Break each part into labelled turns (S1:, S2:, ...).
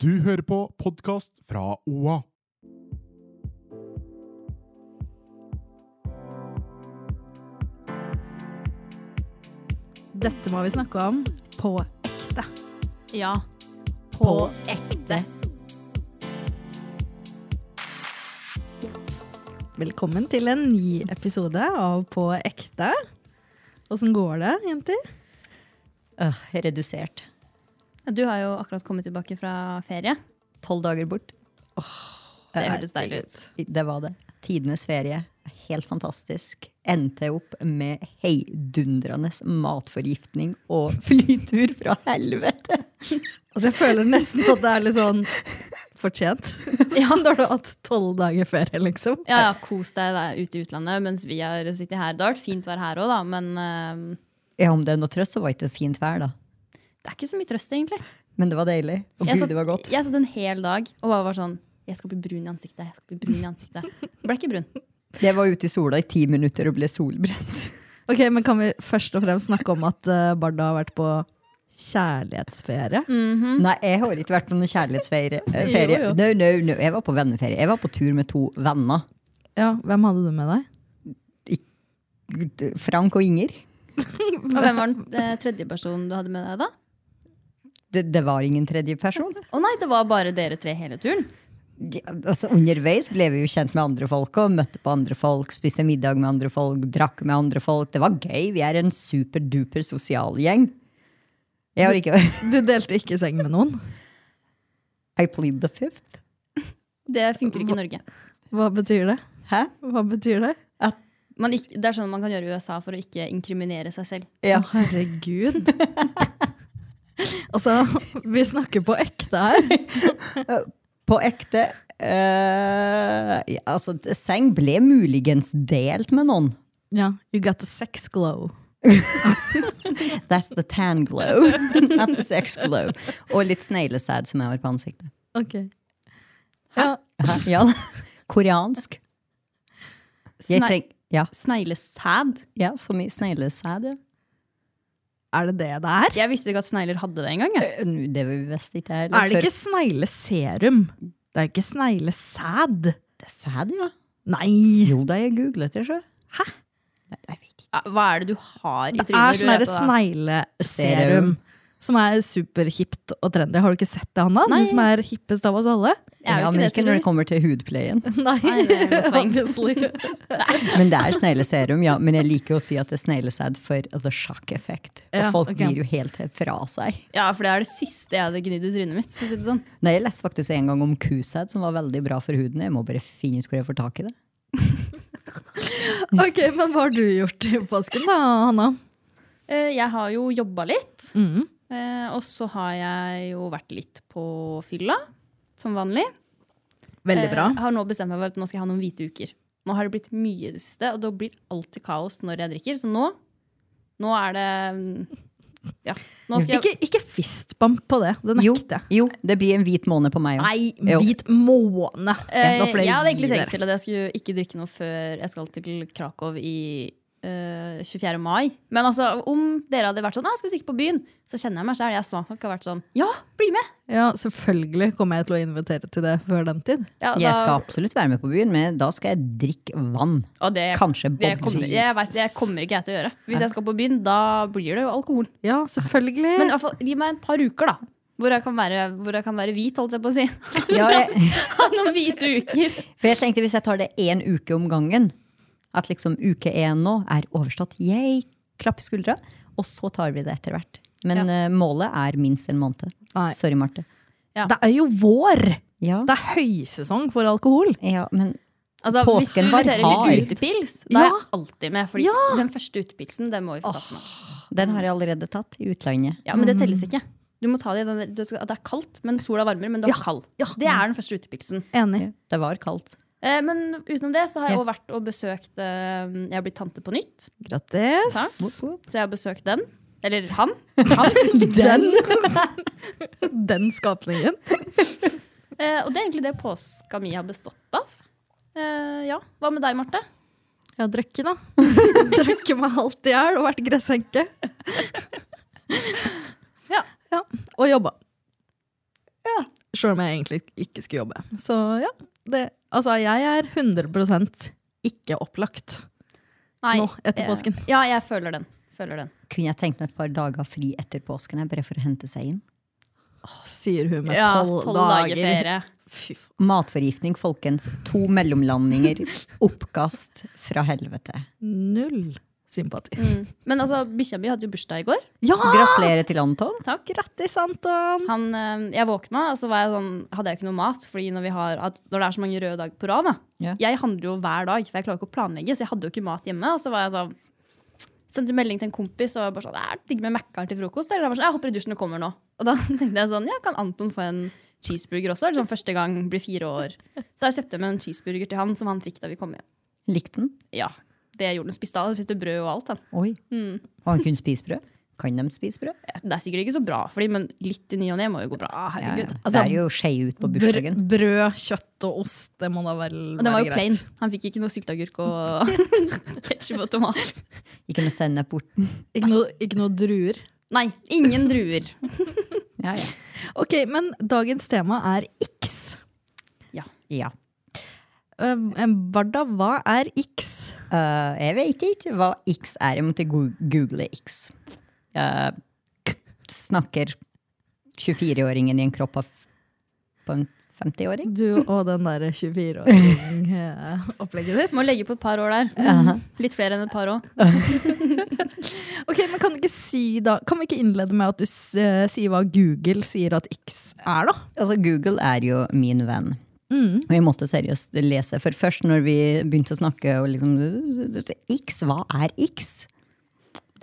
S1: Du hører på podkast fra OA.
S2: Dette må vi snakke om på ekte.
S3: Ja.
S2: På
S3: ekte.
S2: Velkommen til en ny episode av På ekte. Åssen går det, jenter?
S4: Øh, redusert.
S3: Du har jo akkurat kommet tilbake fra ferie.
S4: Tolv dager bort.
S3: Det
S4: Ja,
S3: hørtes deilig ut.
S4: Det var det. Tidenes ferie. Helt fantastisk. Endte jeg opp med heidundrende matforgiftning og flytur fra helvete.
S2: Altså, jeg føler nesten at det er litt sånn fortjent. Ja, da har du hatt tolv dager ferie, liksom.
S3: Ja, ja, Kos deg der ute i utlandet mens vi har sittet her. Det har vært fint vær her òg, da, men eh,
S4: Ja, om det er noe trøst, så var ikke det fint vær, da.
S3: det er ikke så mye trøst, egentlig.
S4: Men det var deilig. Og
S3: Jeg
S4: gud,
S3: satt-
S4: det var godt.
S3: Jeg satt en hel dag og bare var sånn Jeg skal bli brun i ansiktet. jeg skal bli brun i ansiktet. Ble ikke brun.
S4: Jeg var ute i sola i ti minutter og ble solbrent.
S2: Ok, men Kan vi først og fremst snakke om at eh, Barda har vært på kjærlighetsferie?
S4: Nei, jeg har ikke vært på noen kjærlighetsferie. eh,
S2: Mm. Jo,
S4: ferie.
S2: jo.
S4: No, no, no. Jeg var på venneferie. Jeg var på tur med to venner.
S2: Ja, Hvem hadde du med deg?
S4: Frank og Inger.
S3: Og hvem var den eh, tredje personen du hadde med deg, da?
S4: Det, det var ingen tredje person.
S3: Å nei, det var bare dere tre hele turen.
S4: Ja, altså Underveis ble vi jo kjent med andre folk og møtte på andre folk. Spiste middag med andre folk, drakk med andre folk. Det var gøy. Vi er en superduper sosial gjeng. Jeg har ikke
S2: Du delte ikke seng med noen.
S4: I plead the fifth.
S3: Det funker ikke i Norge.
S2: Hva betyr det?
S4: Hæ?
S2: Hva betyr det?
S3: Man ikke, det er sånn man kan gjøre i USA for å ikke inkriminere seg selv.
S4: Ja.
S2: Å, herregud. altså, vi snakker på ekte her.
S4: På ekte eh, ja, Altså, seng ble muligens delt med noen.
S2: Ja, You got the sex glow.
S4: That's the tan glow, not the sex glow. Og litt sneglesæd som jeg har på ansiktet.
S2: Ok. Ja,
S4: Hæ? Ja. Koreansk. Jeg
S3: Snei-
S4: treng, ja.
S3: Sneglesæd?
S4: ja, som i sneglesæd, ja.
S2: er det det det er?
S3: Jeg visste ikke at snegler hadde det engang. jeg.
S4: Eh, nu, Det visste ikke jeg.
S2: Er det ikke snegleserum? Det er ikke sneglesæd.
S4: Det er sæd, ja.
S2: Nei!
S4: Jo da, jeg googlet det, sjø. Hæ? Nei, jeg vet ikke.
S3: Ja, Hva er det du har i
S2: Det
S3: trynet?
S2: er
S3: lurer
S2: sånn
S3: jeg
S2: derre
S3: på da?
S2: snegleserum. Som er superhipt og trendy. Har du ikke sett det, Hanna?
S3: Nei.
S2: Du som er hippest av oss alle.
S3: Jeg
S4: Ja,
S3: er jo
S4: men ikke når
S3: ikke det,
S4: det
S3: tydeligvis.
S4: kommer til hudpleien.
S2: Nei,
S3: det er et godt poeng.
S2: obviously.
S4: Men det er snegleserum, ja. Men jeg liker å si at det er sneglesæd for the shock effect. Og
S2: Ja,
S4: folk
S2: ok.
S4: blir jo helt fra seg.
S3: Ja, for det er det siste jeg hadde gnidd i trynet mitt. For å si det sånn.
S4: Nei, jeg leste faktisk en gang om kusæd, som var veldig bra for huden. Jeg må bare finne ut hvor jeg får tak i det.
S2: Ok, men hva har du gjort i påsken da, Hanna?
S3: Eh, Jeg har jo jobba litt,
S2: Mm.
S3: eh, og så har jeg jo vært litt på fylla, som vanlig.
S2: Veldig bra.
S3: Eh, Jeg har nå bestemt meg for at nå skal jeg ha noen hvite uker. Nå har det blitt mye i det siste, og da blir alltid kaos når jeg drikker. Så nå, nå er det mm, Ja. Nå skal jeg
S2: Ikke, ikke fistbump på det. Det
S4: Jo,
S2: nekter jeg.
S4: jo, det blir en hvit måned på meg òg.
S2: Nei,
S4: Jo.
S2: hvit måne!
S3: Eh,
S2: Da får det
S3: Jeg hadde
S2: gi
S3: egentlig
S2: dere.
S3: tenkt til at jeg skulle ikke drikke noe før jeg skal til Krakow i eh, 24. mai. Men altså, om dere hadde vært sånn «Ah, 'Skal vi stikke på byen?' så kjenner jeg meg sjæl. Jeg er svak nok til å ha vært sånn 'Ja, bli med!'
S2: Ja, selvfølgelig kommer jeg til å invitere til det før den tid.
S3: Ja,
S4: Jeg
S3: da-
S4: skal absolutt være med på byen, men da skal jeg drikke vann.
S3: Og det,
S4: Kanskje
S3: det kommer,
S4: boble.
S3: jeg vet, det kommer ikke jeg til å gjøre. Hvis jeg skal på byen, da blir det jo alkohol.
S2: Ja, selvfølgelig.
S3: Men i hvert fall, gi meg et par uker, da. Hvor jeg kan være, hvor jeg kan være hvit, holdt jeg på å si.
S4: Ja, jeg,
S3: Ha Noen hvite uker.
S4: For jeg tenkte hvis jeg tar det én uke om gangen, at liksom uke én nå er overstått, yay, klapp i skuldra, og så tar vi det etter hvert. Men eh, målet er minst en måned.
S2: Nei.
S4: Sorry, Marte.
S2: det er jo vår!
S4: Ja,
S2: Det er høysesong for alkohol.
S4: ja, men
S3: Altså, hvis du
S4: Påsken var
S3: inviterer
S4: hard.
S3: til utepils, da er
S2: Ja.
S3: jeg alltid med. Fordi den første utepilsen, den må vi få tatt snart.
S4: den har jeg allerede tatt i utlandet.
S2: Mm.
S3: Ja, men det telles ikke. Du må ta det i den der- du skal- Det er kaldt, men sola varmer. Men du er kald. Det er den første utepiksen.
S2: Enig.
S4: Det var kaldt.
S3: Eh, men utenom det så har jeg
S4: Ja.
S3: også vært og besøkt eh, Jeg har blitt tante på nytt.
S2: Grattis.
S3: Takk.
S4: Woop, woop.
S3: Så jeg har besøkt den. Eller han.
S4: Den!
S2: Altså, Den skapningen.
S3: Eh, og det er egentlig det påska mi har bestått av. Eh, ja. Hva med deg, Marte?
S2: Jeg har drukket, da. drukket meg halvt i hjel og vært gressenke.
S3: Ja.
S2: ja. Og jobba. Ja. Sjøl om jeg egentlig ikke skulle jobbe. Så ja. Det, altså, jeg er 100 ikke opplagt nå etter påsken.
S3: Eh, ja, jeg føler den. Føler den.
S4: Kunne jeg tenkt meg et par dager fri etter påsken, jeg, bare for å hente seg inn?
S2: Sier hun med
S3: Ja,
S2: tolv
S3: tolv
S2: dager.
S3: dager ferie.
S2: Fy faen.
S4: Matforgiftning, folkens. To mellomlandinger. Oppkast fra helvete.
S2: Null sympati.
S3: Men altså, bikkja mi hadde jo bursdag i går.
S2: Ja!
S4: Gratulerer til Anton.
S3: Takk.
S2: Grattis, Anton!
S3: Han, eh, jeg våkna, og så var jeg sånn, hadde jeg ikke noe mat. Fordi når, vi har, at når det er så mange røde dager på rad da,
S4: Ja.
S3: Jeg handler jo hver dag, for jeg klarer ikke å planlegge. Så jeg hadde jo ikke mat hjemme. Og så var jeg sånn, sendte melding til en kompis og var bare sånn, det er digg med Mækkern til frokost. Eller han var sånn, jeg hopper i dusjen og kommer nå. Og da tenkte jeg sånn, ja, kan Anton få en cheeseburger også? Eller sånn første gang, blir fire år. Så da kjøpte jeg med en cheeseburger til han, som han fikk da vi kom hjem.
S4: Likte den.
S3: Ja, det gjorde han. Spiste av, spiste brød og alt. Han. Mm.
S4: Oi. Og han kunne spise brød. Kan de spise brød?
S3: Det er sikkert ikke så bra for dem, men litt i ny og ne må jo gå bra.
S4: Ja, ja.
S2: Altså,
S4: det er jo skei ut på
S2: Br
S4: bursdagen.
S2: brød, kjøtt og ost, det må da vel
S3: Og den var
S2: være
S3: jo
S2: greit.
S3: plain. Han fikk ikke noe sylteagurk og ketsjup og tomat.
S4: Ikke noe sennep borten.
S2: Ikke noe, ikke noe druer.
S3: Nei, ingen druer.
S4: Ja, ja.
S2: Ok, men dagens tema er X.
S4: ja.
S2: Eh, Varda, hva er X?
S4: Eh, jeg vet ikke hva X er. Jeg måtte go- google X. Eh, snakker 24-åringen i en kropp av f- på en 50-åring?
S2: Du og den der 24-åring-opplegget ditt.
S3: Må legge på et par år der. Litt flere enn et par òg.
S2: Ok, men Kan du ikke si da Kan vi ikke innlede med at du s- eh, sier hva Google sier at X er, da?
S4: Altså, Google er jo min venn.
S2: Mm.
S4: Og jeg måtte seriøst lese. For først når vi begynte å snakke og liksom, X, hva er X?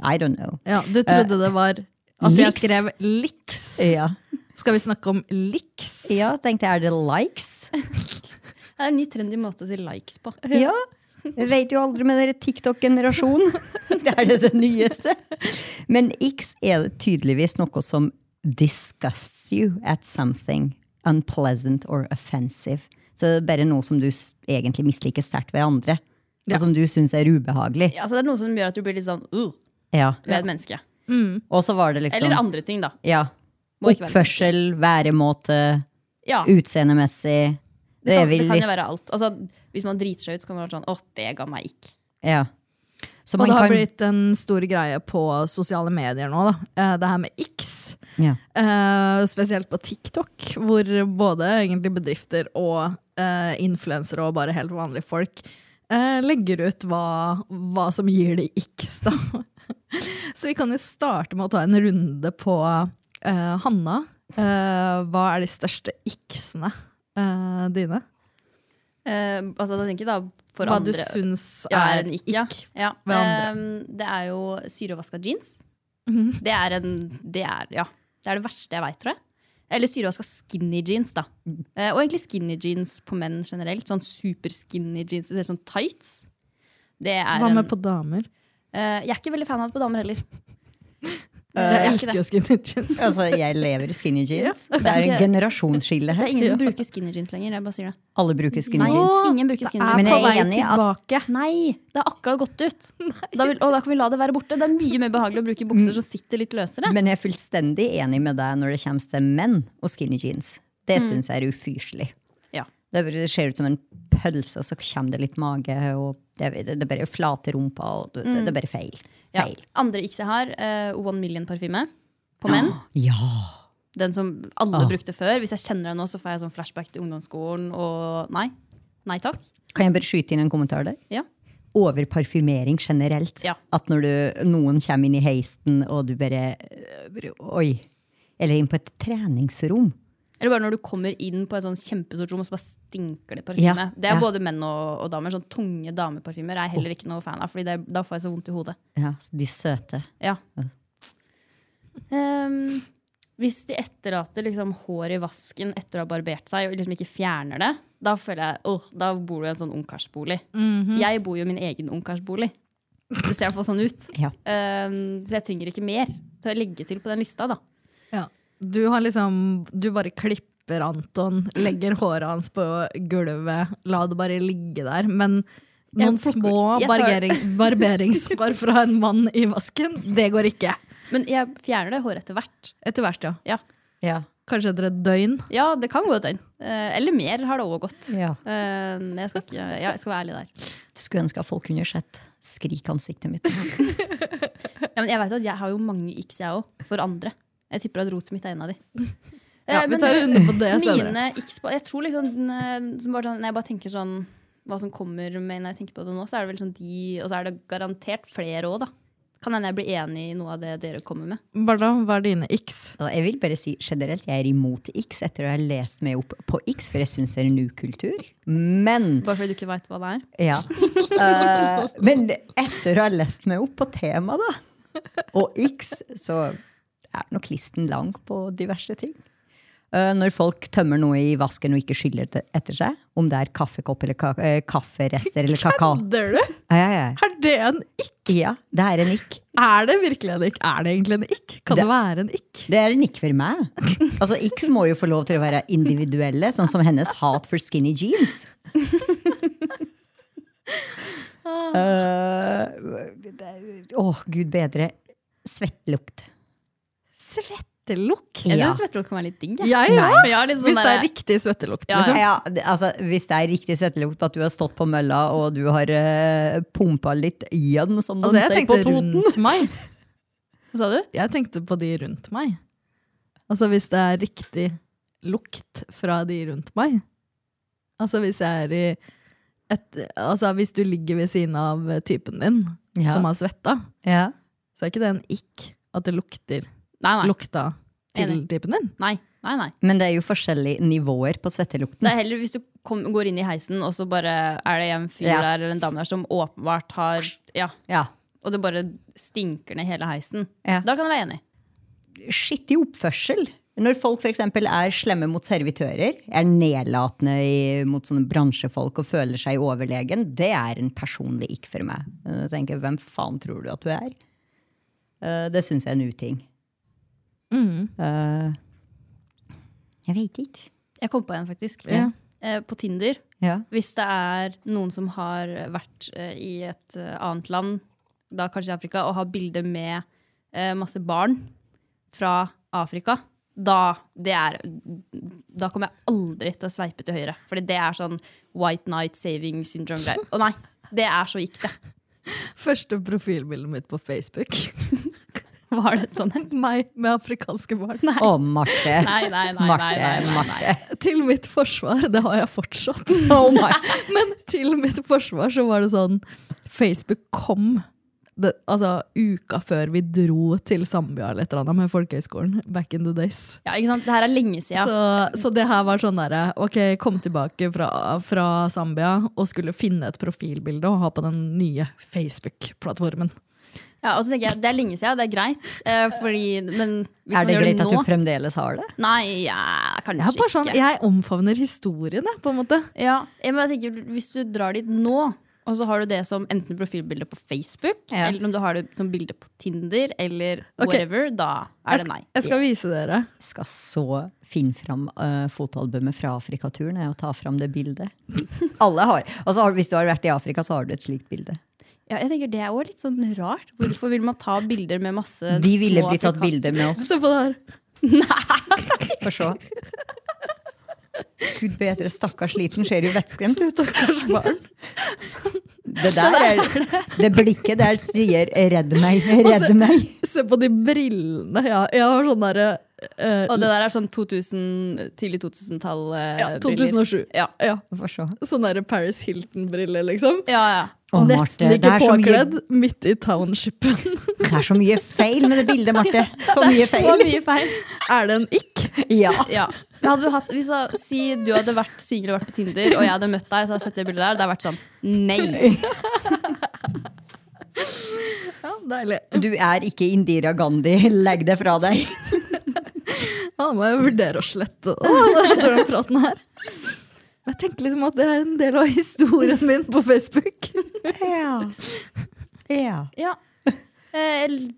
S4: I don't know.
S2: Ja, Du trodde det var at jeg
S4: Lix.
S2: skrev Lix.
S4: Ja,
S2: Eh. Skal vi snakke om Lix?
S4: ja tenkte jeg, er det likes?
S3: Det er en ny trendy måte å si likes på.
S4: Ja. Jeg vet jo aldri med dere TikTok-generasjon. Det er det, det nyeste. Men X er tydeligvis noe som disgusts you at something unpleasant or offensive. Så det er bare noe som du s- egentlig misliker sterkt ved andre. Og som du syns er ubehagelig.
S3: Ja, så det er noe som gjør at du blir litt sånn uh,
S4: Ja.
S3: ved et menneske.
S4: Og så var det liksom
S3: Eller andre ting, da.
S4: ja,
S3: Må ikke være-
S4: Oppførsel, væremåte,
S3: Ja, det
S4: utseendemessig. Uh, Det,
S3: kan,
S4: er
S3: det
S4: vel
S3: kan jo
S4: hvis-
S3: være alt. Altså, hvis man driter seg ut, så kan det være sånn Å, det ga meg ikk.
S4: Ja. Så
S2: Og
S4: man
S2: det har
S4: kan-
S2: blitt en stor greie på sosiale medier nå, da. Eh, Det her med X.
S4: Ja.
S2: Eh, spesielt på TikTok, hvor både egentlig bedrifter og eh, influensere og bare helt vanlige folk eh, legger ut hva, hva som gir de X, da. Så vi kan jo starte med å ta en runde på eh, Hanna. Eh, hva er de største X-ene eh, dine?
S3: Eh, altså, da tenker jeg da for
S2: Hva
S3: andre
S2: du syns
S3: ja, er
S2: er
S3: en ikk. Ja. Ja.
S2: ved andre. Mhm.
S3: Eh, det er jo syrevaska jeans. Det er en det er, ja, det er det verste jeg veit, tror jeg. Eller syrevaska skinny jeans, da. Eh, og egentlig skinny jeans på menn generelt. Sånn super-skinny jeans. Det ser sånn tights. Det er
S2: Hva
S3: en,
S2: med på damer?
S3: eh, jeg er ikke veldig fan av det på damer heller.
S2: Jeg
S3: Jeg Eh, er ikke
S2: elsker jo skinny jeans.
S4: Altså, jeg lever i skinny jeans. det, er
S3: det er
S4: en
S3: ikke-
S4: generasjonsskille
S3: Det er
S4: her.
S3: ingen som bruker skinny jeans lenger. Jeg bare sier det.
S4: Alle bruker skinny
S3: Nei,
S4: jeans.
S3: ingen bruker skinny
S2: er
S4: Men
S3: jeans.
S2: på
S4: jeg er
S2: vei
S4: enig i at-
S2: tilbake.
S3: Nei, det har akkurat gått ut. Da vil, og da kan vi la det være borte. Det er mye mer behagelig å bruke bukser
S4: Mm.
S3: som sitter litt løsere.
S4: Men jeg er fullstendig enig med deg når det kommer til menn og skinny jeans. Det
S3: Mm.
S4: syns jeg er ufyselig.
S3: Ja.
S4: Det, bare, det ser ut som en pølse, og så kommer det litt mage, og det, det, det bare flate rumpa, og det, det, det er bare feil.
S3: Mm. Ja.
S4: Feil.
S3: Andre x jeg har, eh, One Million-parfyme på menn.
S4: Ja!
S3: Den som alle
S4: Ah.
S3: brukte før. Hvis jeg kjenner den nå, så får jeg sånn flashback til ungdomsskolen. Og nei. Nei takk.
S4: Kan jeg bare skyte inn en kommentar der?
S3: Ja.
S4: Overparfymering generelt.
S3: Ja.
S4: At når du, noen kommer inn i heisen, og du bare, øh, bare Oi! Eller inn på et treningsrom.
S3: Eller bare når du kommer inn på et sånn kjempestort rom og så bare stinker det parfyme.
S4: Ja,
S3: Det er
S4: ja.
S3: både menn og, og damer. Sånn tunge dameparfymer er jeg heller ikke noe fan av, for da får jeg så vondt i hodet.
S4: Ja, de søte.
S3: Ja. Ehm, Hvis de etterlater liksom, hår i vasken etter å ha barbert seg, og liksom ikke fjerner det, da føler jeg, åh, da bor du i en sånn ungkarsbolig. Jeg bor jo i min egen ungkarsbolig. Det ser i hvert fall sånn ut.
S4: Ja.
S3: Um, så jeg trenger ikke mer til å legge til på den lista. da.
S2: Ja. Du har liksom Du bare klipper Anton, legger håret hans på gulvet, la det bare ligge der. Men noen
S3: Jeg plukker-
S2: små
S3: jeg tar-
S2: barbering, barberingshår fra en mann i vasken, det går ikke.
S3: Men jeg fjerner det håret etter hvert.
S2: Etter hvert, ja.
S3: Ja,
S4: Ja.
S2: Kanskje etter et døgn.
S3: ja det kan gå et døgn. Eh, eller mer har det òg gått.
S4: Ja.
S3: Eh, jeg, skal ikke, ja, jeg skal være ærlig der.
S4: Skulle ønske at folk kunne sett skrikansiktet mitt.
S3: Ja, men jeg vet jo at jeg har jo mange x, jeg òg. For andre. Jeg tipper at rotet mitt er en av de.
S2: Ja,
S3: Eh,
S2: vi
S3: men
S2: tar
S3: det-
S2: runde på det senere.
S3: Mine x på Jeg tror liksom den, eh, som bare sånn, Når jeg bare tenker sånn hva som kommer med når jeg tenker på det nå, så er det vel sånn de Og så er det garantert flere òg, da. Kan hende jeg blir enig i noe av det dere kommer med.
S2: Barda, hva er dine x?
S4: Altså, jeg vil bare si generelt, jeg er imot X etter å ha lest meg opp på X, for jeg syns det er en ukultur. Men
S3: Bare fordi du ikke veit hva det er.
S4: Ja. Eh, men etter å ha lest meg opp på temaet, da, og X, så er nok listen lang på diverse ting. Eh, når folk tømmer noe i vasken og ikke skyller det etter seg, om det er kaffekopp eller ka eh, kafferester eller kakao
S2: Kødder du?
S4: ja, ja, ja.
S2: Er det en ikk?
S4: ja, det er en ikk.
S2: Er det virkelig en ikk? Er det egentlig en ikk? Kan det,
S4: Det-
S2: være en ikk?
S4: Det er en ikk for meg. Altså, X må jo få lov til å være individuelle, sånn som hennes hat for skinny jeans. Eh, det er- Åh, gud bedre. Svettlukt.
S2: Svettelukk?
S3: Jeg
S4: Ja.
S3: syns svettelukt kan være litt digg.
S2: Jeg
S4: Nei.
S2: òg!
S3: Jeg har litt sånn
S2: Hvis det er
S3: der-
S2: riktig svettelukt.
S3: Ja,
S2: Liksom.
S4: Ja, det- altså, hvis det er riktig svettelukt på at du har stått på mølla og du har uh, pumpa litt igjen, som de
S2: Altså, jeg
S4: sier på
S2: tenkte
S4: Toten.
S2: rundt meg.
S3: Hva sa du?
S2: Jeg tenkte på de rundt meg. Altså hvis det er riktig lukt fra de rundt meg. Altså hvis jeg er i et Altså hvis du ligger ved siden av typen din
S4: Ja.
S2: som har svetta,
S4: Ja.
S2: så er ikke det en ikk at det lukter
S3: Nei, nei.
S2: lukta til
S3: Enig.
S2: typen din.
S3: nei, nei, nei.
S4: Men det er jo forskjellige nivåer på
S3: Det
S4: svettelukten.
S3: er heller hvis du kom, går inn i heisen, og så bare er det en fyr
S4: Ja.
S3: der eller en dame der som åpenbart har Ja,
S4: Ja.
S3: og det bare stinker ned hele heisen.
S4: Ja.
S3: Da kan jeg være enig.
S4: skittig oppførsel. Når folk f.eks. er slemme mot servitører, er nedlatende i, mot sånne bransjefolk og føler seg overlegen, det er en personlig ikk for meg. Eh, Jeg tenker, Hvem faen tror du at du er? Eh, Det syns jeg er en uting.
S3: Mm.
S4: Eh, Jeg veit ikke.
S3: Jeg kom på en, faktisk.
S2: Ja.
S3: Eh, på Tinder.
S4: Ja.
S3: Hvis det er noen som har vært eh, i et eh, annet land, da kanskje i Afrika, og har bilde med eh, masse barn fra Afrika, da, det er, da kommer jeg aldri til å sveipe til høyre. Fordi det er sånn White Night Saving Syndrome-greier. Å nei, det er så gikk det.
S2: Første profilbildet mitt på Facebook.
S3: Var det et
S2: sånn?
S3: sånt?
S2: Meg med afrikanske barn.
S4: Å, Marte.
S3: Nei, nei, nei. nei,
S4: Marte,
S3: nei, nei, nei.
S4: Marte.
S2: Til mitt forsvar, det har jeg fortsatt.
S4: Oh my.
S2: Men til mitt forsvar så var det sånn Facebook kom det, altså, uka før vi dro til Zambia eller et eller annet med folkehøyskolen. Back in the days.
S3: Ja, ikke sant? Det her er lenge siden.
S2: Så, så det her var sånn derre Ok, kom tilbake fra, fra Zambia og skulle finne et profilbilde å ha på den nye Facebook-plattformen.
S3: Ja, og så tenker jeg, Det er lenge siden, det er greit. Eh, fordi, men hvis
S4: Er
S3: man
S4: det
S3: gjør
S4: greit
S3: det
S4: at du
S3: nå
S4: fremdeles har det?
S3: Nei, ja, kanskje
S2: Jeg, er bare sånn,
S3: ikke.
S2: jeg omfavner historien, jeg, på en måte.
S3: Ja, jeg- men jeg tenker, Hvis du drar dit nå, og så har du det som enten profilbilde på Facebook,
S4: Ja.
S3: eller om du har det som bilde på Tinder, eller
S2: Ok.
S3: whatever, da er det nei.
S2: Jeg skal vise dere.
S4: Skal så finne fram eh, fotoalbumet fra Afrikaturen jeg, og ta fram det bildet. Alle har. Altså, har- hvis du har vært i Afrika, så har du et slikt bilde.
S3: Ja, jeg tenker Det er jo litt sånn rart. Hvorfor vil man ta bilder med masse
S4: De ville
S3: små
S4: blitt tatt
S3: afrikanske-
S4: bilde med oss.
S2: Se på det her.
S4: Få se. Gud bedre, stakkars liten ser jo vettskremt ut. Det der er Det blikket der sier 'redd meg,
S2: Altså,
S4: redd meg'.
S2: Se på de brillene. Ja, jeg har sånn derre eh,
S3: Og det der er sånn 2000, tidlig 2000-tall. eh,
S2: ja,
S3: briller.
S2: 2007.
S3: Ja.
S2: ja.
S4: Få se.
S2: sånn der Paris Hilton-briller, liksom.
S3: Ja, ja.
S4: Å, Marte,
S2: Nesten
S4: det
S2: ikke
S4: er så mye-
S2: påkledd, midt i townshipen.
S4: Det er så mye feil med det bildet, Marte. Så mye
S3: Så
S4: feil.
S3: mye feil.
S2: er det en ikk?
S4: Ja.
S3: Ja. Hadde du hatt, hvis da, si du hadde vært singel og vært på Tinder, og jeg hadde møtt deg, så hadde jeg sett det bildet der, det hadde vært sånn nei.
S2: Ja, deilig.
S4: Du er ikke Indira Gandhi, legg det fra deg.
S2: Ja, da må jeg vurdere å slette Åh, den praten her. Men jeg tenker liksom at det er en del av historien min på Facebook.
S4: Ja. ja.
S3: Ja. Eh, l-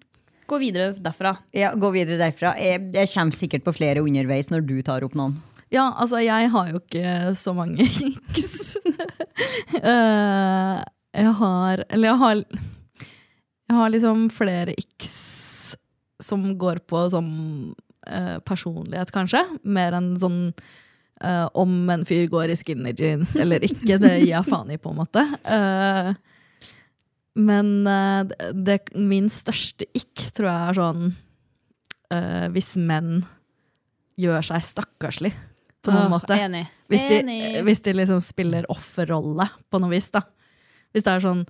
S3: gå videre derfra.
S4: Ja, Gå videre derfra. Jeg, jeg kommer sikkert på flere underveis når du tar opp noen.
S2: Ja, altså, jeg har jo ikke så mange kinks. Eh, jeg har Eller jeg har Jeg har liksom flere x som går på sånn eh, personlighet, kanskje. Mer enn sånn eh, om en fyr går i skinny jeans eller ikke. Det gir jeg faen i, på en måte. Eh, men eh, det, det- min største ikk tror jeg er sånn eh, Hvis menn gjør seg stakkarslig på noen
S3: Åh,
S2: måte.
S3: Enig.
S2: Hvis de,
S3: Enig.
S2: hvis de liksom spiller offerrolle på noe vis, da. Hvis det er sånn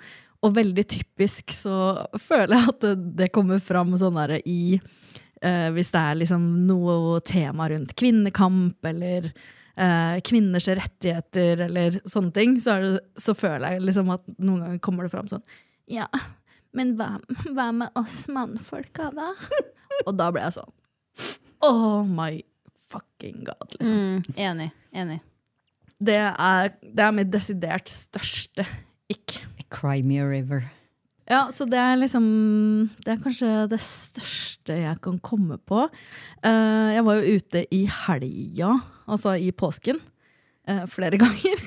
S2: Og veldig typisk så føler jeg at det, det kommer fram sånn der i eh, Hvis det er liksom noe tema rundt kvinnekamp eller eh, kvinners rettigheter eller sånne ting, så, er det, så føler jeg liksom at noen ganger kommer det fram sånn Ja, men hva, hva med oss mannfolka, da? Og da ble jeg sånn Oh my fucking god, liksom.
S3: Mm, enig. Enig.
S2: Det er, det er mitt desidert største ikk.
S4: Cry me a river.
S2: Ja, så det er liksom Det er kanskje det største jeg kan komme på. Eh, jeg var jo ute i helga, altså i påsken, eh, flere ganger.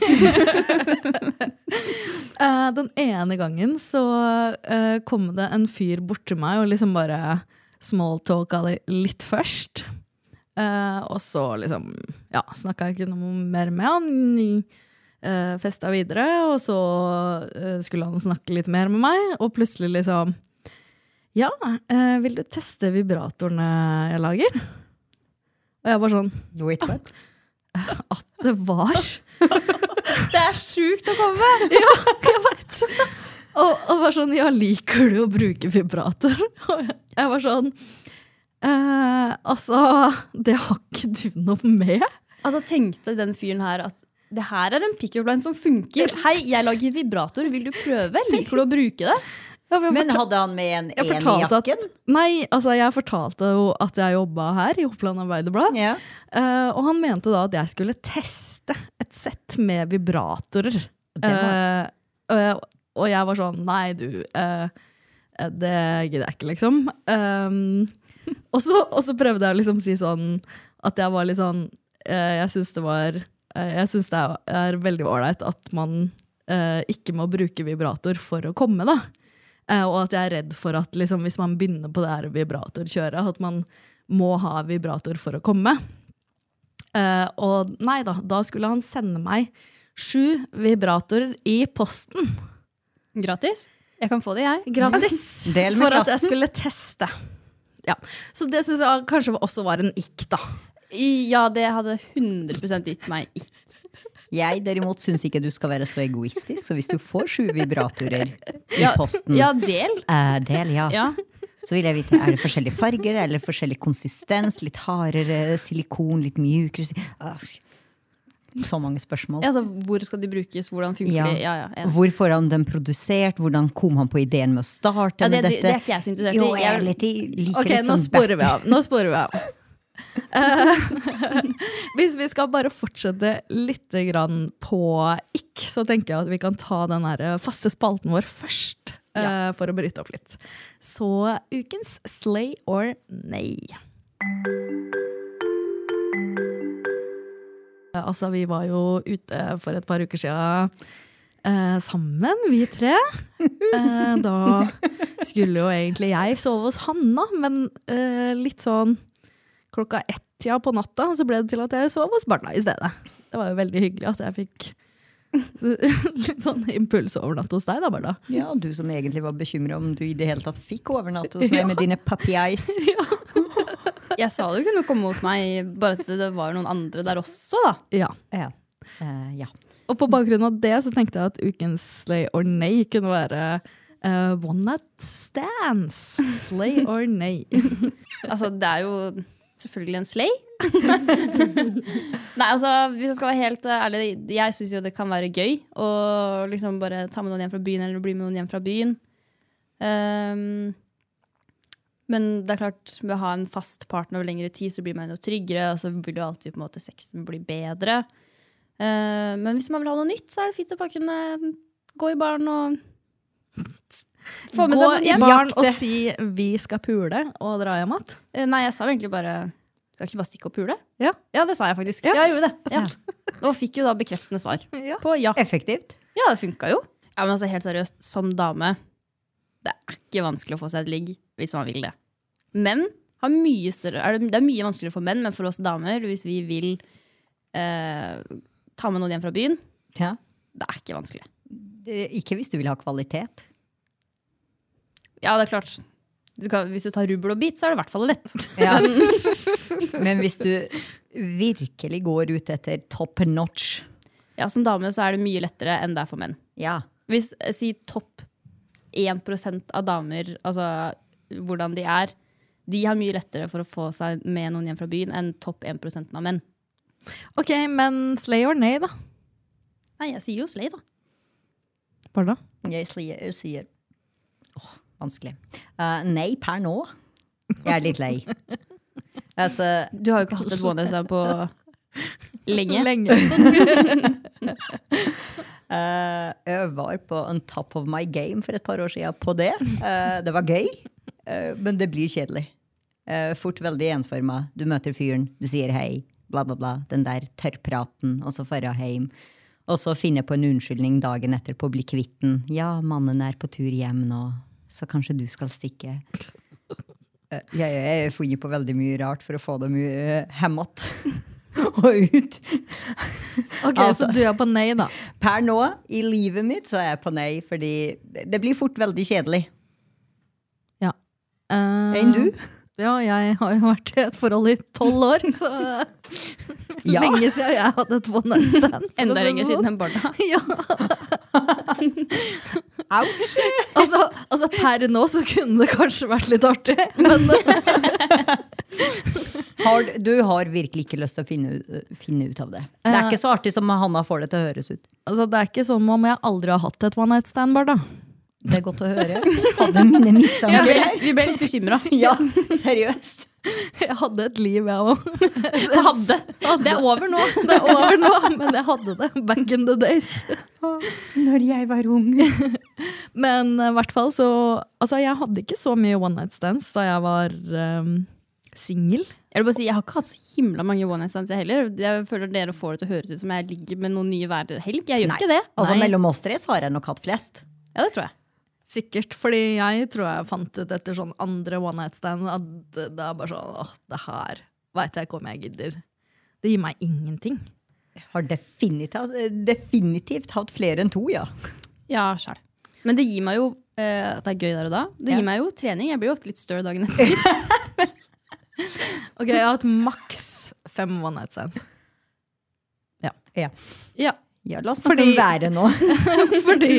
S2: Eh, den ene gangen så eh, kom det en fyr bort til meg og liksom bare smalltalka li- litt først. Eh, og så liksom ja, snakka jeg ikke noe mer med han. Uh, festa videre, og så eh, skulle han snakke litt mer med meg, og plutselig liksom Ja, eh, vil du teste vibratorene jeg lager? Og jeg var sånn
S4: Wait, what?
S2: At det var!
S3: Det er sjukt å komme!
S2: Og, og var sånn, ja, liker du å bruke vibrator? Og jeg- jeg var sånn, eh, altså, det har ikke du noe med?
S3: Altså Tenkte den fyren her at det her er en pickup line som funker. Hei, jeg lager vibrator. Vil du prøve? Liker du å bruke det?
S2: Ja, for jeg
S4: Men
S2: fortal-
S4: hadde han med en
S2: jeg
S4: en i
S2: fortalte at-
S4: jakken?
S2: Nei, altså, jeg fortalte jo at jeg jobba her i Oppland Arbeiderblad.
S4: Ja.
S2: Eh, og han mente da at jeg skulle teste et sett med vibratorer.
S4: Det
S2: Eh, og jeg- og jeg var sånn Nei, du, eh, eh, det gidder jeg ikke, liksom. Um, og, så, og så prøvde jeg å liksom si sånn at jeg var litt sånn eh, Jeg syns det var eh, Jeg syns det er, er veldig ålreit at man eh, ikke må bruke vibrator for å komme, da. Eh, og at jeg er redd for at liksom, hvis man begynner på det her vibratorkjøret, at man må ha vibrator for å komme. Eh, og nei da, da skulle han sende meg sju vibratorer i posten.
S3: Gratis? Jeg kan få det, jeg.
S2: Gratis.
S4: Del med
S2: for at jeg
S4: klassen.
S2: skulle teste. Ja. Så det syns jeg kanskje også var en ikk, da.
S3: I- Ja, det hadde 100 gitt meg ikke.
S4: Jeg derimot syns ikke du skal være så egoistisk, så hvis du får sju vibratorer i
S2: Mm.
S4: posten
S3: Ja, del.
S4: eh, del, ja.
S3: Ja.
S4: Så vil jeg vite, Er det forskjellige farger eller forskjellig konsistens? Litt hardere silikon, litt mjukere si- Ah, Så mange spørsmål.
S3: Altså, hvor skal de brukes? Hvordan funker
S4: Ja.
S3: de? Ja, ja, enig.
S4: Hvor får han den produsert? Hvordan kom han på ideen med å starte
S3: Ja,
S4: med
S3: det- det-
S4: dette?
S3: det er ikke jeg så interessert i.
S4: Jo, jeg
S3: Jeg-
S4: er litt, i- liker
S2: Ok,
S4: litt
S2: nå
S4: sånn
S2: sporer vi av. Nå sporer vi av. Eh, hvis vi skal bare fortsette litt grann på ikk, så tenker jeg at vi kan ta den her eh, faste spalten vår først. eh, For å bryte opp litt. Så ukens slay or nay. Eh, Altså, vi var jo ute for et par uker siden eh, sammen, vi tre. Eh, da skulle jo egentlig jeg sove hos Hanna, men eh, litt sånn klokka ett-tida på natta, så ble det til at jeg sov hos barna i stedet. Det var jo veldig hyggelig at jeg fikk litt sånn impulsovernatt hos deg, da, Barda.
S4: Ja, du som egentlig var bekymra om du i det hele tatt fikk overnatte hos meg med dine puppy eyes.
S3: Jeg sa du kunne komme hos meg, bare at det var noen andre der også, da.
S2: Ja.
S4: Ja. Eh, ja.
S2: Og på bakgrunn av det så tenkte jeg at ukens slay or nay kunne være eh, one night stands. Slay or nay.
S3: Altså, det er jo selvfølgelig en slay. Nei, altså, hvis jeg skal være helt eh, ærlig, jeg syns jo det kan være gøy å liksom bare ta med noen hjem fra byen, eller bli med noen hjem fra byen. Ehm, Men det er klart, ved å ha en fast partner over lengre tid, så blir man jo tryggere, og så vil jo alltid på en måte sexen bli bedre. Eh, men hvis man vil ha noe nytt, så er det fint å bare kunne gå i baren og få med
S2: Gå
S3: seg noen
S2: i
S3: hjem.
S2: baren og si 'vi skal pule' og dra hjem igjen.
S3: Eh, Nei, jeg sa jo egentlig bare Skal ikke bare stikke og pule?
S2: Ja.
S3: det sa jeg faktisk. Ja, jeg gjorde det. Ja. Og fikk jo da bekreftende svar.
S2: Ja.
S3: På ja.
S4: Effektivt.
S3: Ja, det funka jo. Ja, men altså Helt seriøst, som dame Det er ikke vanskelig å få seg et ligg hvis man vil det. Menn har mye større er det, det er mye vanskeligere for menn, men for oss damer, hvis vi vil eh, ta med noen hjem fra byen,
S4: Ja.
S3: det er ikke vanskelig.
S4: Det- Ikke hvis du vil ha kvalitet.
S3: Ja, det er klart. Du kan, hvis du tar rubbel og bit, så er det i hvert fall lett.
S4: Ja. Men hvis du virkelig går ut etter top notch
S3: Ja, Som dame så er det mye lettere enn det er for menn.
S4: Ja.
S3: Hvis eh, si topp 1 av damer, altså hvordan de er, de har mye lettere for å få seg med noen hjem fra byen enn topp 1 av menn.
S2: Ok, men slay or nay, da?
S3: Nei, jeg sier jo slay, da.
S2: Barna?
S4: Jeg sier, sier Åh, vanskelig. Eh, nei per nå. Jeg er litt lei. Altså,
S3: Du har jo ikke hatt et one night stand på lenge.
S2: Lenge.
S4: Eh, jeg var på on top of my game for et par år siden på det. Eh, det var gøy, eh, men det blir kjedelig. Eh, fort veldig ensforma. Du møter fyren, du sier hei, bla, bla, bla. Den der tørrpraten, og så dra hjem. Og så finne på en unnskyldning dagen etterpå, bli kvitt den. Ja, mannen er på tur hjem nå, så kanskje du skal stikke. Eh, jeg jeg har funnet på veldig mye rart for å få dem uh, hemmet og ut.
S2: Ok, Så
S4: Altså.
S2: du er på nei, da.
S4: Per nå, i livet mitt, så er jeg på nei, fordi det blir fort veldig kjedelig.
S2: Ja. Eh,
S4: Enn du?
S2: Ja, jeg har jo vært i et forhold i tolv år, så
S4: Ja.
S2: lenge siden jeg hadde et one night stand. for å
S3: Enda
S2: si det
S3: lenger
S2: sånn.
S3: siden enn barna.
S2: Ja.
S4: Ouch!
S2: Altså, altså, per nå så kunne det kanskje vært litt artig, men
S4: Har, du har virkelig ikke lyst til å finne, ut- finne ut av det. Det er ikke så artig som Hanna får det til å høres ut.
S2: altså, det er ikke som om jeg aldri har hatt et one night stand, Barda.
S4: Det er godt å høre. Hadde mine
S3: Vi ble
S4: mistanker.
S3: litt, vi ble litt bekymra.
S4: Ja, seriøst.
S2: Jeg hadde et liv, jeg òg.
S3: Hadde. Det er over nå.
S2: Det er over nå, men jeg hadde det back in the days.
S4: Når jeg var ung.
S2: Men eh, i hvert fall så Altså, jeg hadde ikke så mye one night stands da jeg var um, singel.
S3: Jeg vil bare si, jeg har ikke hatt så himla mange one night stands, jeg heller. Jeg føler dere får det til å høres ut som jeg ligger med noen nye hver helg. Jeg gjør ikke det.
S4: Altså,
S3: Nei.
S4: mellom oss tre så har jeg nok hatt flest.
S3: Ja, det tror jeg.
S2: Sikkert. Fordi jeg tror jeg fant ut etter sånn andre one night stand at det det er bare sånn åh, det her veit jeg ikke om jeg gidder. Det gir meg ingenting.
S4: Har definitivt, definitivt hatt flere enn to, ja.
S3: Ja, sjæl. Men det gir meg jo eh, at det er gøy der og da. Det
S4: Ja.
S3: gir meg jo trening. Jeg blir jo ofte litt støl dagen etter.
S2: Ok, jeg har hatt maks fem one night stands.
S4: Ja,
S3: ja.
S4: ja la oss snakke
S2: Fordi-
S4: om været nå.
S2: Fordi,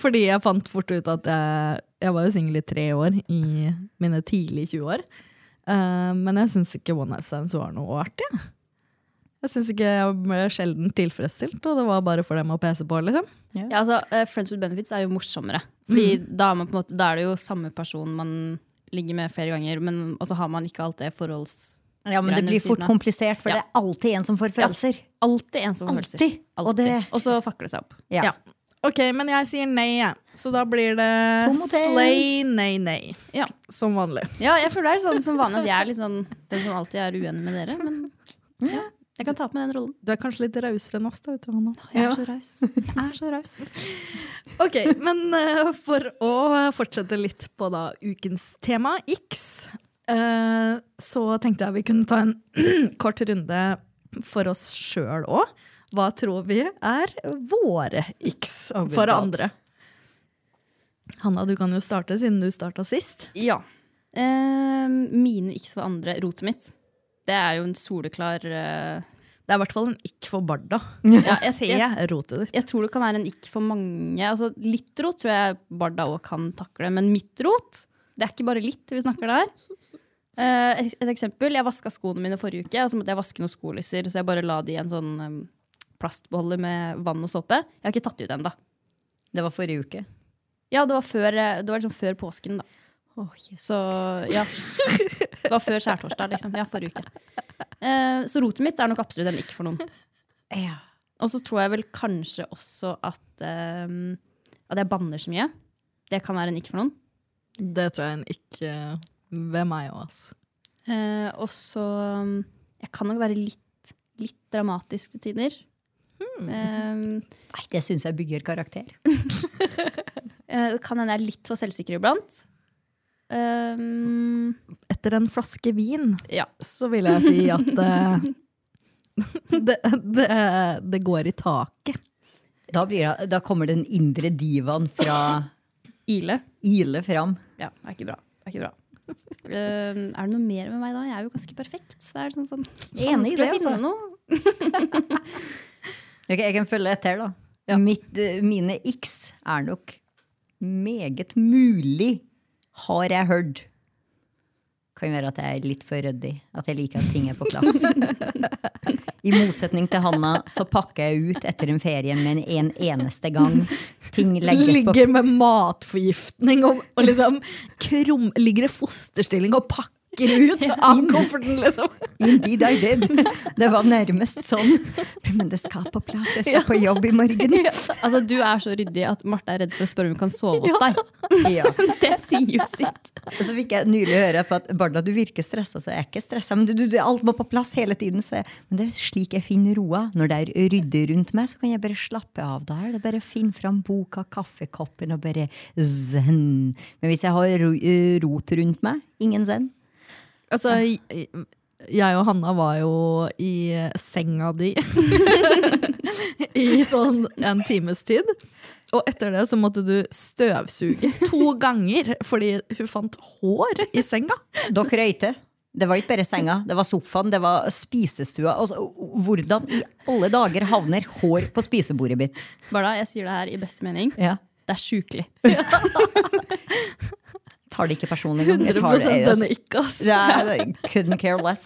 S2: fordi jeg fant fort ut at jeg, jeg var jo singel i tre år i mine tidlige 20 år. Eh, men jeg syns ikke one night stands var noe artig. jeg. Jeg syns ikke jeg ble sjelden tilfredsstilt, og det var bare for dem å pese på. liksom.
S3: ja, altså eh, Friends with benefits er jo morsommere. Fordi da, er man på en måte, da er det jo samme person man ligger med flere ganger, men og så har man ikke alt det forholds...
S4: Ja, men det
S3: Greiene
S4: blir
S3: ved
S4: fort
S3: siden av.
S4: komplisert, for
S3: Ja.
S4: det er alltid en som får følelser.
S3: Alltid ensomme følelser.
S4: Alltid. Og
S3: Alltid.
S4: det-
S3: Og så fakker det seg opp.
S4: Ja.
S2: Ja. Ok, men jeg sier nei, jeg. Så da blir det
S4: Tom og Ted.
S2: slay, nei, nei.
S3: Ja.
S2: Som vanlig.
S3: Ja, jeg føler det er sånn som vanlig at jeg er litt sånn den som alltid er uenig med dere. Men ja, jeg kan ta på meg den rollen.
S2: Du er kanskje litt rausere enn oss, da, vet du, Hanna.
S3: Jeg er så raus. Jeg er så raus.
S2: Ok, men eh, for å fortsette litt på da ukens tema, X, eh, så tenkte jeg vi kunne ta en kort runde for oss sjøl òg. Hva tror vi er våre X
S4: Oh my
S2: for
S4: God.
S2: andre? Hanna, du kan jo starte, siden du starta sist.
S3: Ja. Eh, mine ikke for andre. Rotet mitt. Det er jo en soleklar eh,
S2: Det er i hvert fall en ikk for Barda.
S3: ja,
S2: Jeg
S3: jeg, jeg,
S2: ser rotet ditt.
S3: jeg tror det kan være en ikke for mange. Altså, litt rot tror jeg Barda òg kan takle, men mitt rot Det er ikke bare litt vi snakker der. Eh, et, et eksempel. Jeg vaska skoene mine forrige uke, og så måtte jeg vaske noen skolisser. Så jeg bare la de i en sånn eh, plastbeholder med vann og såpe. Jeg har ikke tatt de ut ennå.
S4: Det var forrige uke.
S3: Ja, det var, før, eh, det var liksom før påsken, da. Så ja. Det var før skjærtorsdag, liksom. Ja, forrige uke. Eh, så rotet mitt er nok absolutt en ikke for noen. Og så tror jeg vel kanskje også at eh, At jeg banner så mye. Det kan være en ikke for noen.
S2: Det tror jeg en ikke ved meg òg, ass.
S3: Eh, og så um, Jeg kan nok være litt, litt dramatisk til tider.
S4: Hmm.
S3: Eh,
S4: Nei, det syns jeg bygger karakter.
S3: eh, det kan hende jeg er litt for selvsikker iblant. Um,
S2: Etter en flaske vin
S3: ja.
S2: så vil jeg si at eh, det, det, det går i taket.
S4: Da, blir, jeg- da kommer den indre divaen fra
S3: Ile.
S4: Ile fram.
S3: Ja, det er ikke bra. Det er, ikke bra. Eh, er det noe mer med meg da? Jeg er jo ganske perfekt. Så det er sånn, sånn,
S4: Enig i det,
S3: vanskelig å finne
S4: altså.
S3: noe.
S4: Ok, jeg kan følge etter, da.
S2: Ja.
S4: Mitt, eh, mine x er nok meget mulig, har jeg hørt. Kan være at jeg er litt for ryddig. At jeg liker at ting er på plass. I motsetning til Hanna så pakker jeg ut etter en ferie med en eneste gang. Ting legges på
S2: Ligger med matforgiftning og, og liksom krum, ligger i fosterstilling og pakker ut av kofferten, liksom.
S4: Indeed I did. Det var nærmest sånn. Men det skal på plass, jeg skal på jobb i morgen.
S3: Altså, du er så ryddig at Marte er redd for å spørre om hun kan sove hos deg.
S4: Ja.
S3: Det sier jo sitt.
S4: Og så fikk jeg nylig høre på at Barda, du virker stressa, så jeg er ikke stressa. Men du, du, du, alt må på plass hele tiden. Så jeg, men det er slik jeg finner roa. Når det er ryddig rundt meg, så kan jeg bare slappe av. Da er det bare å finne fram boka, kaffekoppen og bare zen. Men hvis jeg har ro, eh, rot rundt meg, ingen zen.
S2: Altså, jeg- jeg og Hanna var jo i senga di i sånn en times tid. Og etter det så måtte du støvsuge to ganger fordi hun fant hår i senga.
S4: Dere røyte. Det var ikke bare senga, det var sofaen, det var spisestua. Altså, hvordan i alle dager havner hår på spisebordet mitt?
S3: Barda, jeg sier det her i beste mening.
S4: Ja.
S3: Det er sjukelig.
S4: Tar det ikke personlig engang. Jeg tar
S2: 100
S4: det-
S2: denne ikke, ass.
S4: Ja, couldn't care less.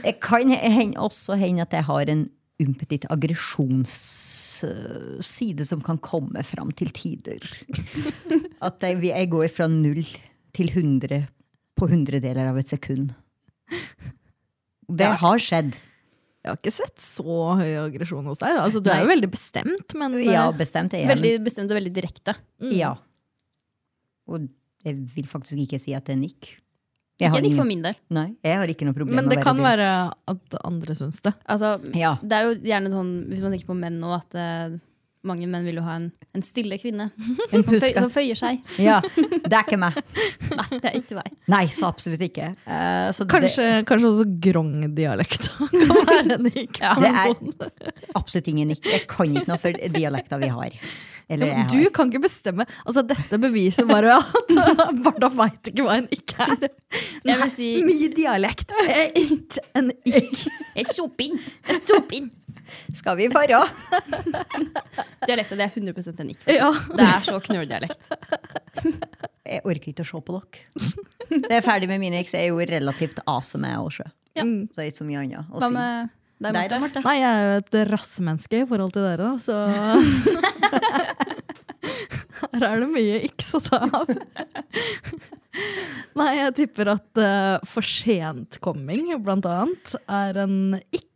S4: Det kan hende, også hende at jeg har en umpetitt aggresjonsside som kan komme fram til tider. At jeg, jeg går fra null til 100 på hundredeler av et sekund. Det har skjedd.
S2: Jeg har ikke sett så høy aggresjon hos deg. da. Altså, du er jo
S4: Nei.
S2: veldig bestemt, men eh,
S4: Ja, bestemt. Jeg,
S3: Veldig bestemt og veldig direkte.
S4: Ja. Og jeg vil faktisk ikke si at den gikk. Jeg
S3: Ikke
S4: har,
S3: en ikke for
S4: ingen,
S3: min del.
S4: nei, jeg har ikke noe problem
S2: men det
S4: med å
S2: kan
S4: være
S2: være at andre syns det.
S3: Altså,
S4: Ja.
S3: Det er jo gjerne sånn, hvis man tenker på menn nå, at eh, mange menn vil jo ha en, en stille kvinne.
S4: En
S3: Som, føy,
S4: puska.
S3: som føyer seg.
S4: Ja, det er ikke meg.
S3: Nei, det er ikke meg.
S4: Nei, så absolutt ikke. Eh, så
S2: Kanskje, kanskje også grongdialekta kan være en ikke.
S4: det er absolutt ingen nikk. Jeg kan ikke noe for dialekta vi har. Eller
S2: Ja, men
S4: jeg
S2: Du
S4: har.
S2: kan ikke bestemme. Altså, dette beviser bare at Barda veit ikke hva en ikke er.
S3: Jeg vil si
S2: Min dialekt er ikke en ikke.
S3: jeg shopping! Jeg shopping!
S4: Skal vi fare?
S3: Dialekta det er 100 en ikke.
S2: Ja.
S3: Det er så knulldialekt.
S4: Jeg orker ikke å se på dere. Så jeg er ferdig med mine eks. Jeg er jo relativt asom, jeg også.
S2: Ja.
S4: Så det er ikke så mye annet å
S3: Hva
S4: si.
S3: med deg,
S4: Der, da,
S3: Marte?
S4: Marte.
S2: Nei, jeg er jo et rassmenneske i forhold til dere, da, så Her er det mye ikke å ta av. Nei, jeg tipper at eh, for forsentkomming, blant annet, er en ikk.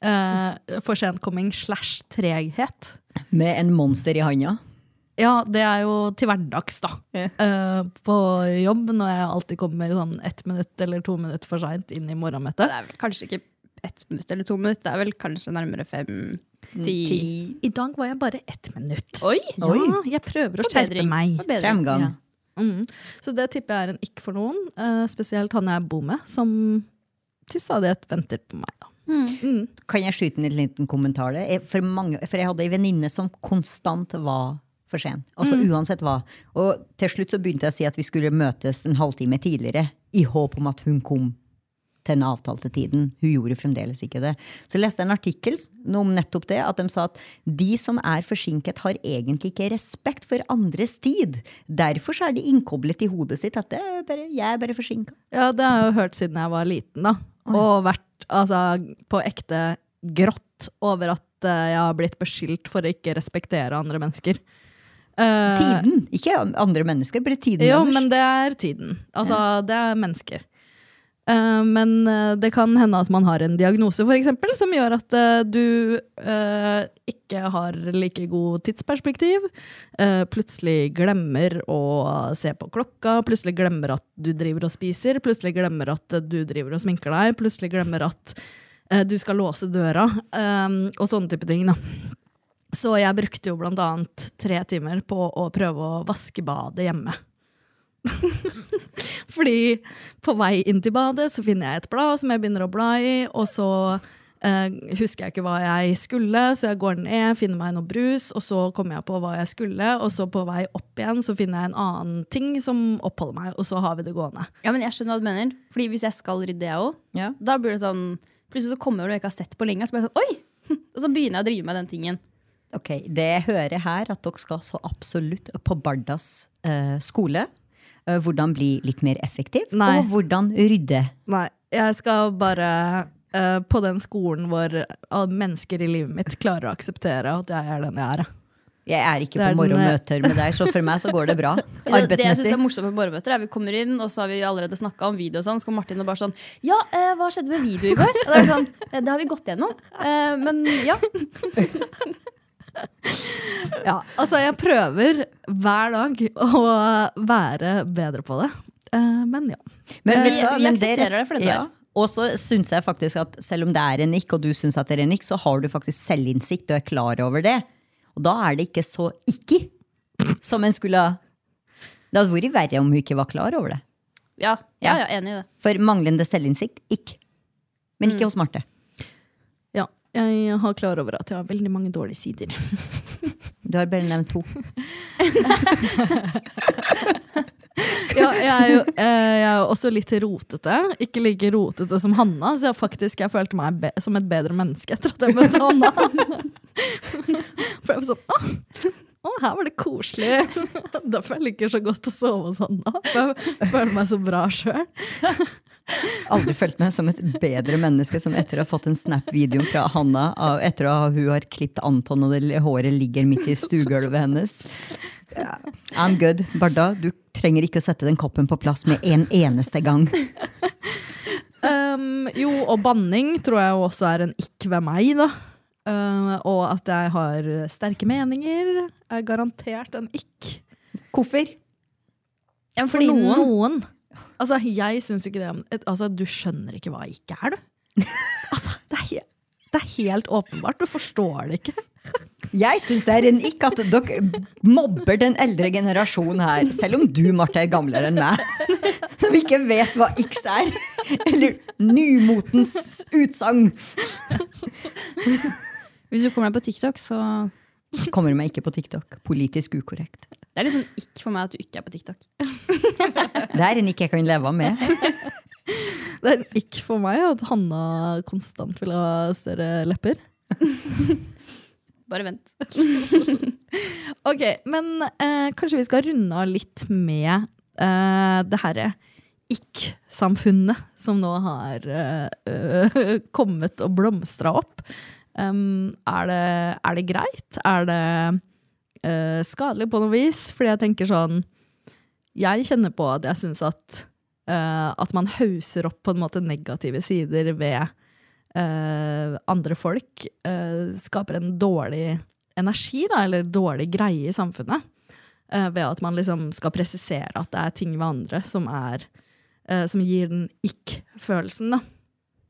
S2: Uh, forsentkomming slash treghet.
S4: Med en monster i handa.
S2: Ja, det er jo til hverdags, da.
S4: Ja.
S2: Eh, på jobb, når jeg alltid kommer sånn ett minutt eller to minutter for seint inn i morgenmøtet.
S3: Det er vel kanskje ikke ett minutt eller to minutt. Det er vel kanskje nærmere fem, ti
S4: Ti.
S2: I dag var jeg bare ett minutt.
S3: Oi!
S2: Ja, jeg prøver å skjerpe
S3: Forbedring.
S2: meg.
S3: Forbedring.
S4: Fremgang.
S2: Mm. Så det tipper jeg er en ikke for noen. eh, spesielt han jeg bor med, som til stadighet venter på meg. Da.
S4: Kan jeg skyte inn en liten kommentar? der? Jeg, for, mange, for jeg hadde ei venninne som konstant var for sen. Altså
S2: Mm.
S4: uansett hva. Og til slutt så begynte jeg å si at vi skulle møtes en halvtime tidligere, i håp om at hun kom til den avtalte tiden. Hun gjorde fremdeles ikke det. Så jeg leste en artikkel s- om nettopp det, at de sa at de som er forsinket, har egentlig ikke respekt for andres tid. Derfor så er de innkoblet i hodet sitt at det er bare, jeg er bare forsinka.
S2: Ja, det har jeg jo hørt siden jeg var liten, da. Og vært altså, på ekte grått over at eh, jeg har blitt beskyldt for å ikke respektere andre mennesker. Eh,
S4: Tiden, ikke andre mennesker, bare tiden
S2: Jo,
S4: deres.
S2: men det er tiden. Altså, det er mennesker. Eh, men eh, det kan hende at man har en diagnose for eksempel, som gjør at eh, du eh, ikke har like god tidsperspektiv. Eh, plutselig glemmer å se på klokka, plutselig glemmer at du driver og spiser, plutselig glemmer at eh, du driver og sminker deg, plutselig glemmer at eh, du skal låse døra, eh, og sånne type ting. da. Så jeg brukte jo blant annet tre timer på å prøve å vaske badet hjemme. Fordi på vei inn til badet så finner jeg et blad som jeg begynner å bla i, og så eh, husker jeg ikke hva jeg skulle, så jeg går ned, finner meg noe brus, og så kommer jeg på hva jeg skulle, og så på vei opp igjen så finner jeg en annen ting som oppholder meg, og så har vi det gående.
S3: Ja, men jeg skjønner hva du mener. Fordi hvis jeg skal rydde, jeg òg,
S4: Ja.
S3: da blir det sånn Plutselig så kommer det noe jeg ikke har sett på lenge, og så blir jeg sånn Oi! Og så begynner jeg å drive med den tingen.
S4: Ok, Det jeg hører her, at dere skal så absolutt på Bardas eh, skole. eh, hvordan bli litt mer effektiv,
S2: Nei.
S4: og hvordan rydde.
S2: Nei, jeg skal bare eh, på den skolen hvor alle mennesker i livet mitt klarer å akseptere at jeg er den jeg er.
S4: Jeg er ikke
S2: Det er
S4: på
S2: den-
S4: morgenmøter med deg, så for meg så går det bra.
S3: eh, Det jeg synes
S4: Arbeidsmessig.
S3: er morsomt med morgenmøter, er vi kommer inn, og så har vi allerede snakka om video og sånn, så kommer Martin og bare sånn Ja, eh, hva skjedde med video i går? Og det er det sånn, «Eh, Det har vi gått gjennom. Eh, men ja.
S2: Ja, altså jeg prøver hver dag å være bedre på det. Eh, Men ja.
S4: Men vet du
S3: Vi-
S4: hva?
S3: vi
S4: Men det-
S3: aksepterer det for det det er.
S4: ja. Og så syns jeg faktisk at selv om det er en nikk, og du syns at det er en nikk, så har du faktisk selvinnsikt og er klar over det. Og da er det ikke så ikke som en skulle ha Det hadde vært verre om hun ikke var klar over det.
S3: Ja, ja, ja enig i det.
S4: For manglende selvinnsikt ikke. Men
S3: Mm.
S4: ikke hos Marte.
S2: ja. Jeg har klar over at jeg har veldig mange dårlige sider.
S4: Du har bare nevnt to.
S2: Ja, jeg, er jo, eh, jeg er jo også litt rotete. Ikke like rotete som Hanna, så jeg faktisk jeg følte meg be som et bedre menneske etter at jeg møtte Hanna. For jeg var sånn Å, å her var det koselig. Derfor jeg liker så godt å sove hos Hanna. For jeg føler meg så bra sjøl.
S4: Aldri følt meg som et bedre menneske som etter å ha fått en Snap-video fra Hanna av- etter at hun har klippet Anton og det li- håret ligger midt i stuegulvet hennes. Ja, I'm good. Barda, du trenger ikke å sette den koppen på plass med en eneste gang.
S2: Um, jo, og banning tror jeg jo også er en ikk ved meg, da. Uh, og at jeg har sterke meninger, er garantert en ikk.
S4: Hvorfor?
S3: Ja, men
S2: For noen. Altså, jeg syns jo ikke det om et- Altså, du skjønner ikke hva ikk er, du. Altså, det er, he det er helt åpenbart. Du forstår det ikke.
S4: Jeg syns det er en ikk at dere mobber den eldre generasjonen her, selv om du, Marte, er gamlere enn meg. Som ikke vet hva x er. Eller nymotens utsagn.
S3: Hvis du kommer deg på TikTok, så
S4: Kommer meg ikke på TikTok. Politisk ukorrekt.
S3: Det er litt sånn ikk for meg at du ikke er på TikTok.
S4: Det er en ikke jeg kan leve med.
S2: Det er en ikk for meg at Hanna konstant vil ha større lepper.
S3: Bare vent.
S2: Ok, men eh, kanskje vi skal runde av litt med eh, det herre ikk-samfunnet som nå har eh, kommet og blomstra opp. Um, er, det, er det greit? Er det eh, skadelig på noe vis? Fordi jeg tenker sånn Jeg kjenner på at jeg syns at, eh, at man hauser opp på en måte negative sider ved eh, andre folk. eh, skaper en dårlig energi, da, eller dårlig greie i samfunnet. eh, ved at man liksom skal presisere at det er ting ved andre som, er, eh, som gir den ikk-følelsen. da.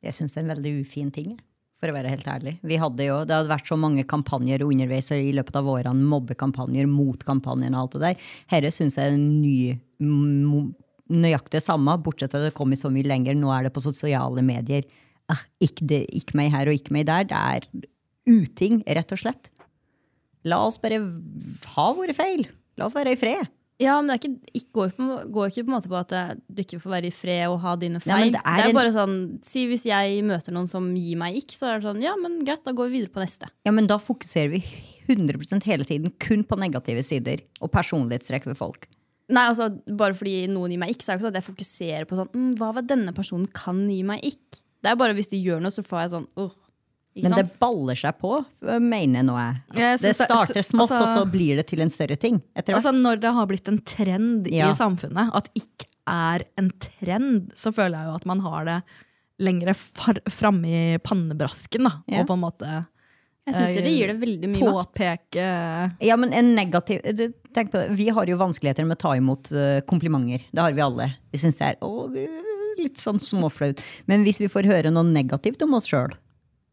S4: Jeg syns det er en veldig ufin ting. For å være helt ærlig. Vi hadde jo, det hadde vært så mange kampanjer underveis og i løpet av årene. Mobbekampanjer mot kampanjen og alt det der. Herre syns jeg er en ny, mo- nøyaktig det samme, bortsett fra at det kom i så mye lenger. Nå er det på sosiale medier. Ah, ikke, det, ikke meg her og ikke meg der. Det er uting, rett og slett. La oss bare ha våre feil. La oss være i fred.
S3: Ja, men det er ikke, ikke, går, på, går ikke på en måte på at eh, du ikke får være i fred og ha dine
S4: Nei, men
S3: feil.
S4: det
S3: det,
S4: er
S3: er
S4: en-
S3: bare sånn, si Hvis jeg møter noen som gir meg ikk, så er det sånn ja, men greit, da går vi videre på neste.
S4: Ja, men da fokuserer vi 100 hele tiden kun på negative sider og personlighetstrekk ved folk.
S3: Nei, altså, Bare fordi noen gir meg ikk, så er det ikke sånn at jeg fokuserer på sånn, mm, hva var denne personen kan gi meg ikk. Det er bare hvis de gjør noe, så får jeg sånn åh, Ikke
S4: Men det
S3: sant?
S4: baller seg på, øh, mener nå jeg.
S2: Jeg
S4: Det
S2: synes det-
S4: starter smått,
S2: altså-
S4: og så blir det til en større ting. etter hvert.
S2: Altså Når det har blitt en trend
S4: Ja.
S2: i samfunnet, at ikke er en trend, så føler jeg jo at man har det lengre far- framme i pannebrasken. Da,
S4: Ja.
S2: Og på en måte
S3: Jeg syns dere gir det veldig mye makt.
S2: påpeke
S4: Ja, men en negativ du, Tenk på det. Vi har jo vanskeligheter med å ta imot eh, komplimenter. Det har vi alle. Vi syns det er å, eh, litt sånn småflaut. Men hvis vi får høre noe negativt om oss sjøl,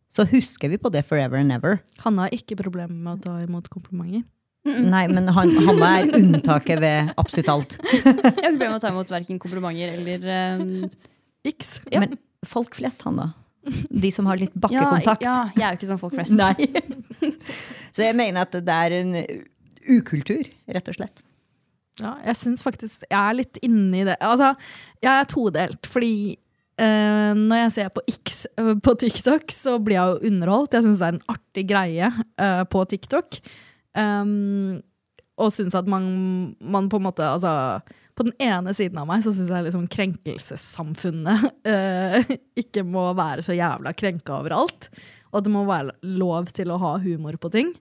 S4: så husker vi på det forever and ever.
S2: Hanne har ikke problemer med å ta imot komplimenter.
S4: Nei, men han, Hanna er unntaket ved absolutt alt.
S3: Jeg har ikke problemer med å ta imot verken komplimenter eller eh,
S2: Iks.
S4: Men folk flest, Hanna. De som har litt
S3: ja,
S4: bakkekontakt.
S3: ja, jeg er jo ikke sånn folk flest.
S4: Nei. Så jeg mener at det er en ukultur, rett og slett.
S2: Ja, jeg syns faktisk jeg er litt inni det. Altså, jeg er todelt, fordi eh, når jeg ser på X eh, på TikTok, så blir jeg jo underholdt. Jeg syns det er en artig greie eh, på TikTok. Um, og syns at man, man på en måte altså, På den ene siden av meg så syns jeg liksom krenkelsessamfunnet eh, ikke må være så jævla krenka overalt. Og at det må være lov til å ha humor på ting.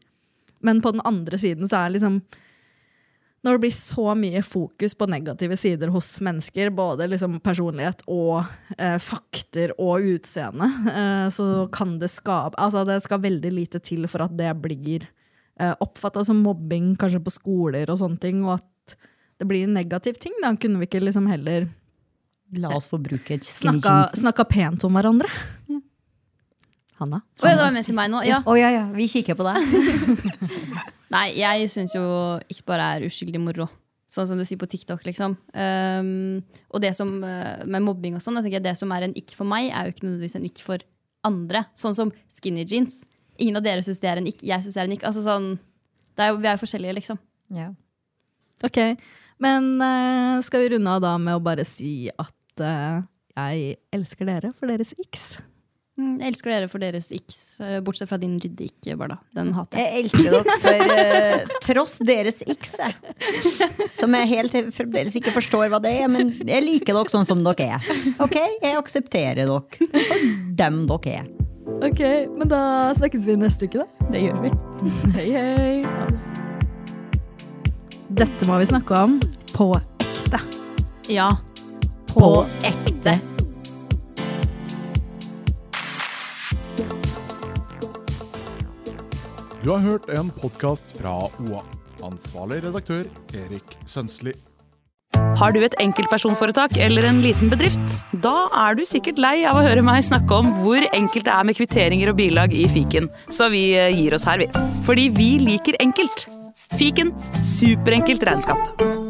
S2: Men på den andre siden så er liksom når det blir så mye fokus på negative sider hos mennesker, både liksom personlighet og eh, fakter og utseende, eh, så kan det skape Altså, det skal veldig lite til for at det blir eh, oppfatta som mobbing, kanskje på skoler og sånne ting, og at det blir en negativ ting. Da kunne vi ikke liksom heller
S4: La oss få bruke skinny
S2: snakka,
S4: jeans.
S2: snakka pent om hverandre. Hanna?
S3: Oi, det var mest til meg nå. Ja.
S4: Å ja, ja, vi kikker på deg.
S3: Nei, jeg syns jo ikke bare er uskyldig moro. Sånn som du sier på TikTok, liksom. Um, og det som eh, med mobbing og sånn, jeg tenker det som er en ikke for meg, er jo ikke nødvendigvis en ikke for andre. Sånn som skinny jeans. Ingen av dere syns det er en ikke, jeg syns det er en ikke. Altså sånn, det er jo, vi er jo forskjellige, liksom.
S2: Ok, men eh, skal vi runde av da med å bare si at eh, jeg elsker dere for deres x.
S3: Mm, Jeg elsker dere for deres x, eh, bortsett fra din rydde ikke, Barda. Den hater jeg.
S4: Jeg elsker dere for eh, tross deres ikse. Som jeg helt fremdeles ikke forstår hva det er, men jeg liker dere sånn som dere er. Ok, Jeg aksepterer dere for dem dere er.
S2: Ok, men da snakkes vi neste uke, da.
S4: Det gjør vi.
S2: Hei, hei. Dette må vi snakke om på ekte.
S3: Ja.
S2: På
S3: ekte.
S1: Du har hørt en podkast fra OA. Ansvarlig redaktør Erik Sønsli.
S5: Har du et enkeltpersonforetak eller en liten bedrift? Da er du sikkert lei av å høre meg snakke om hvor enkelt det er med kvitteringer og bilag i fiken, så vi eh, gir oss her, vi. Fordi vi liker enkelt. Fiken superenkelt regnskap.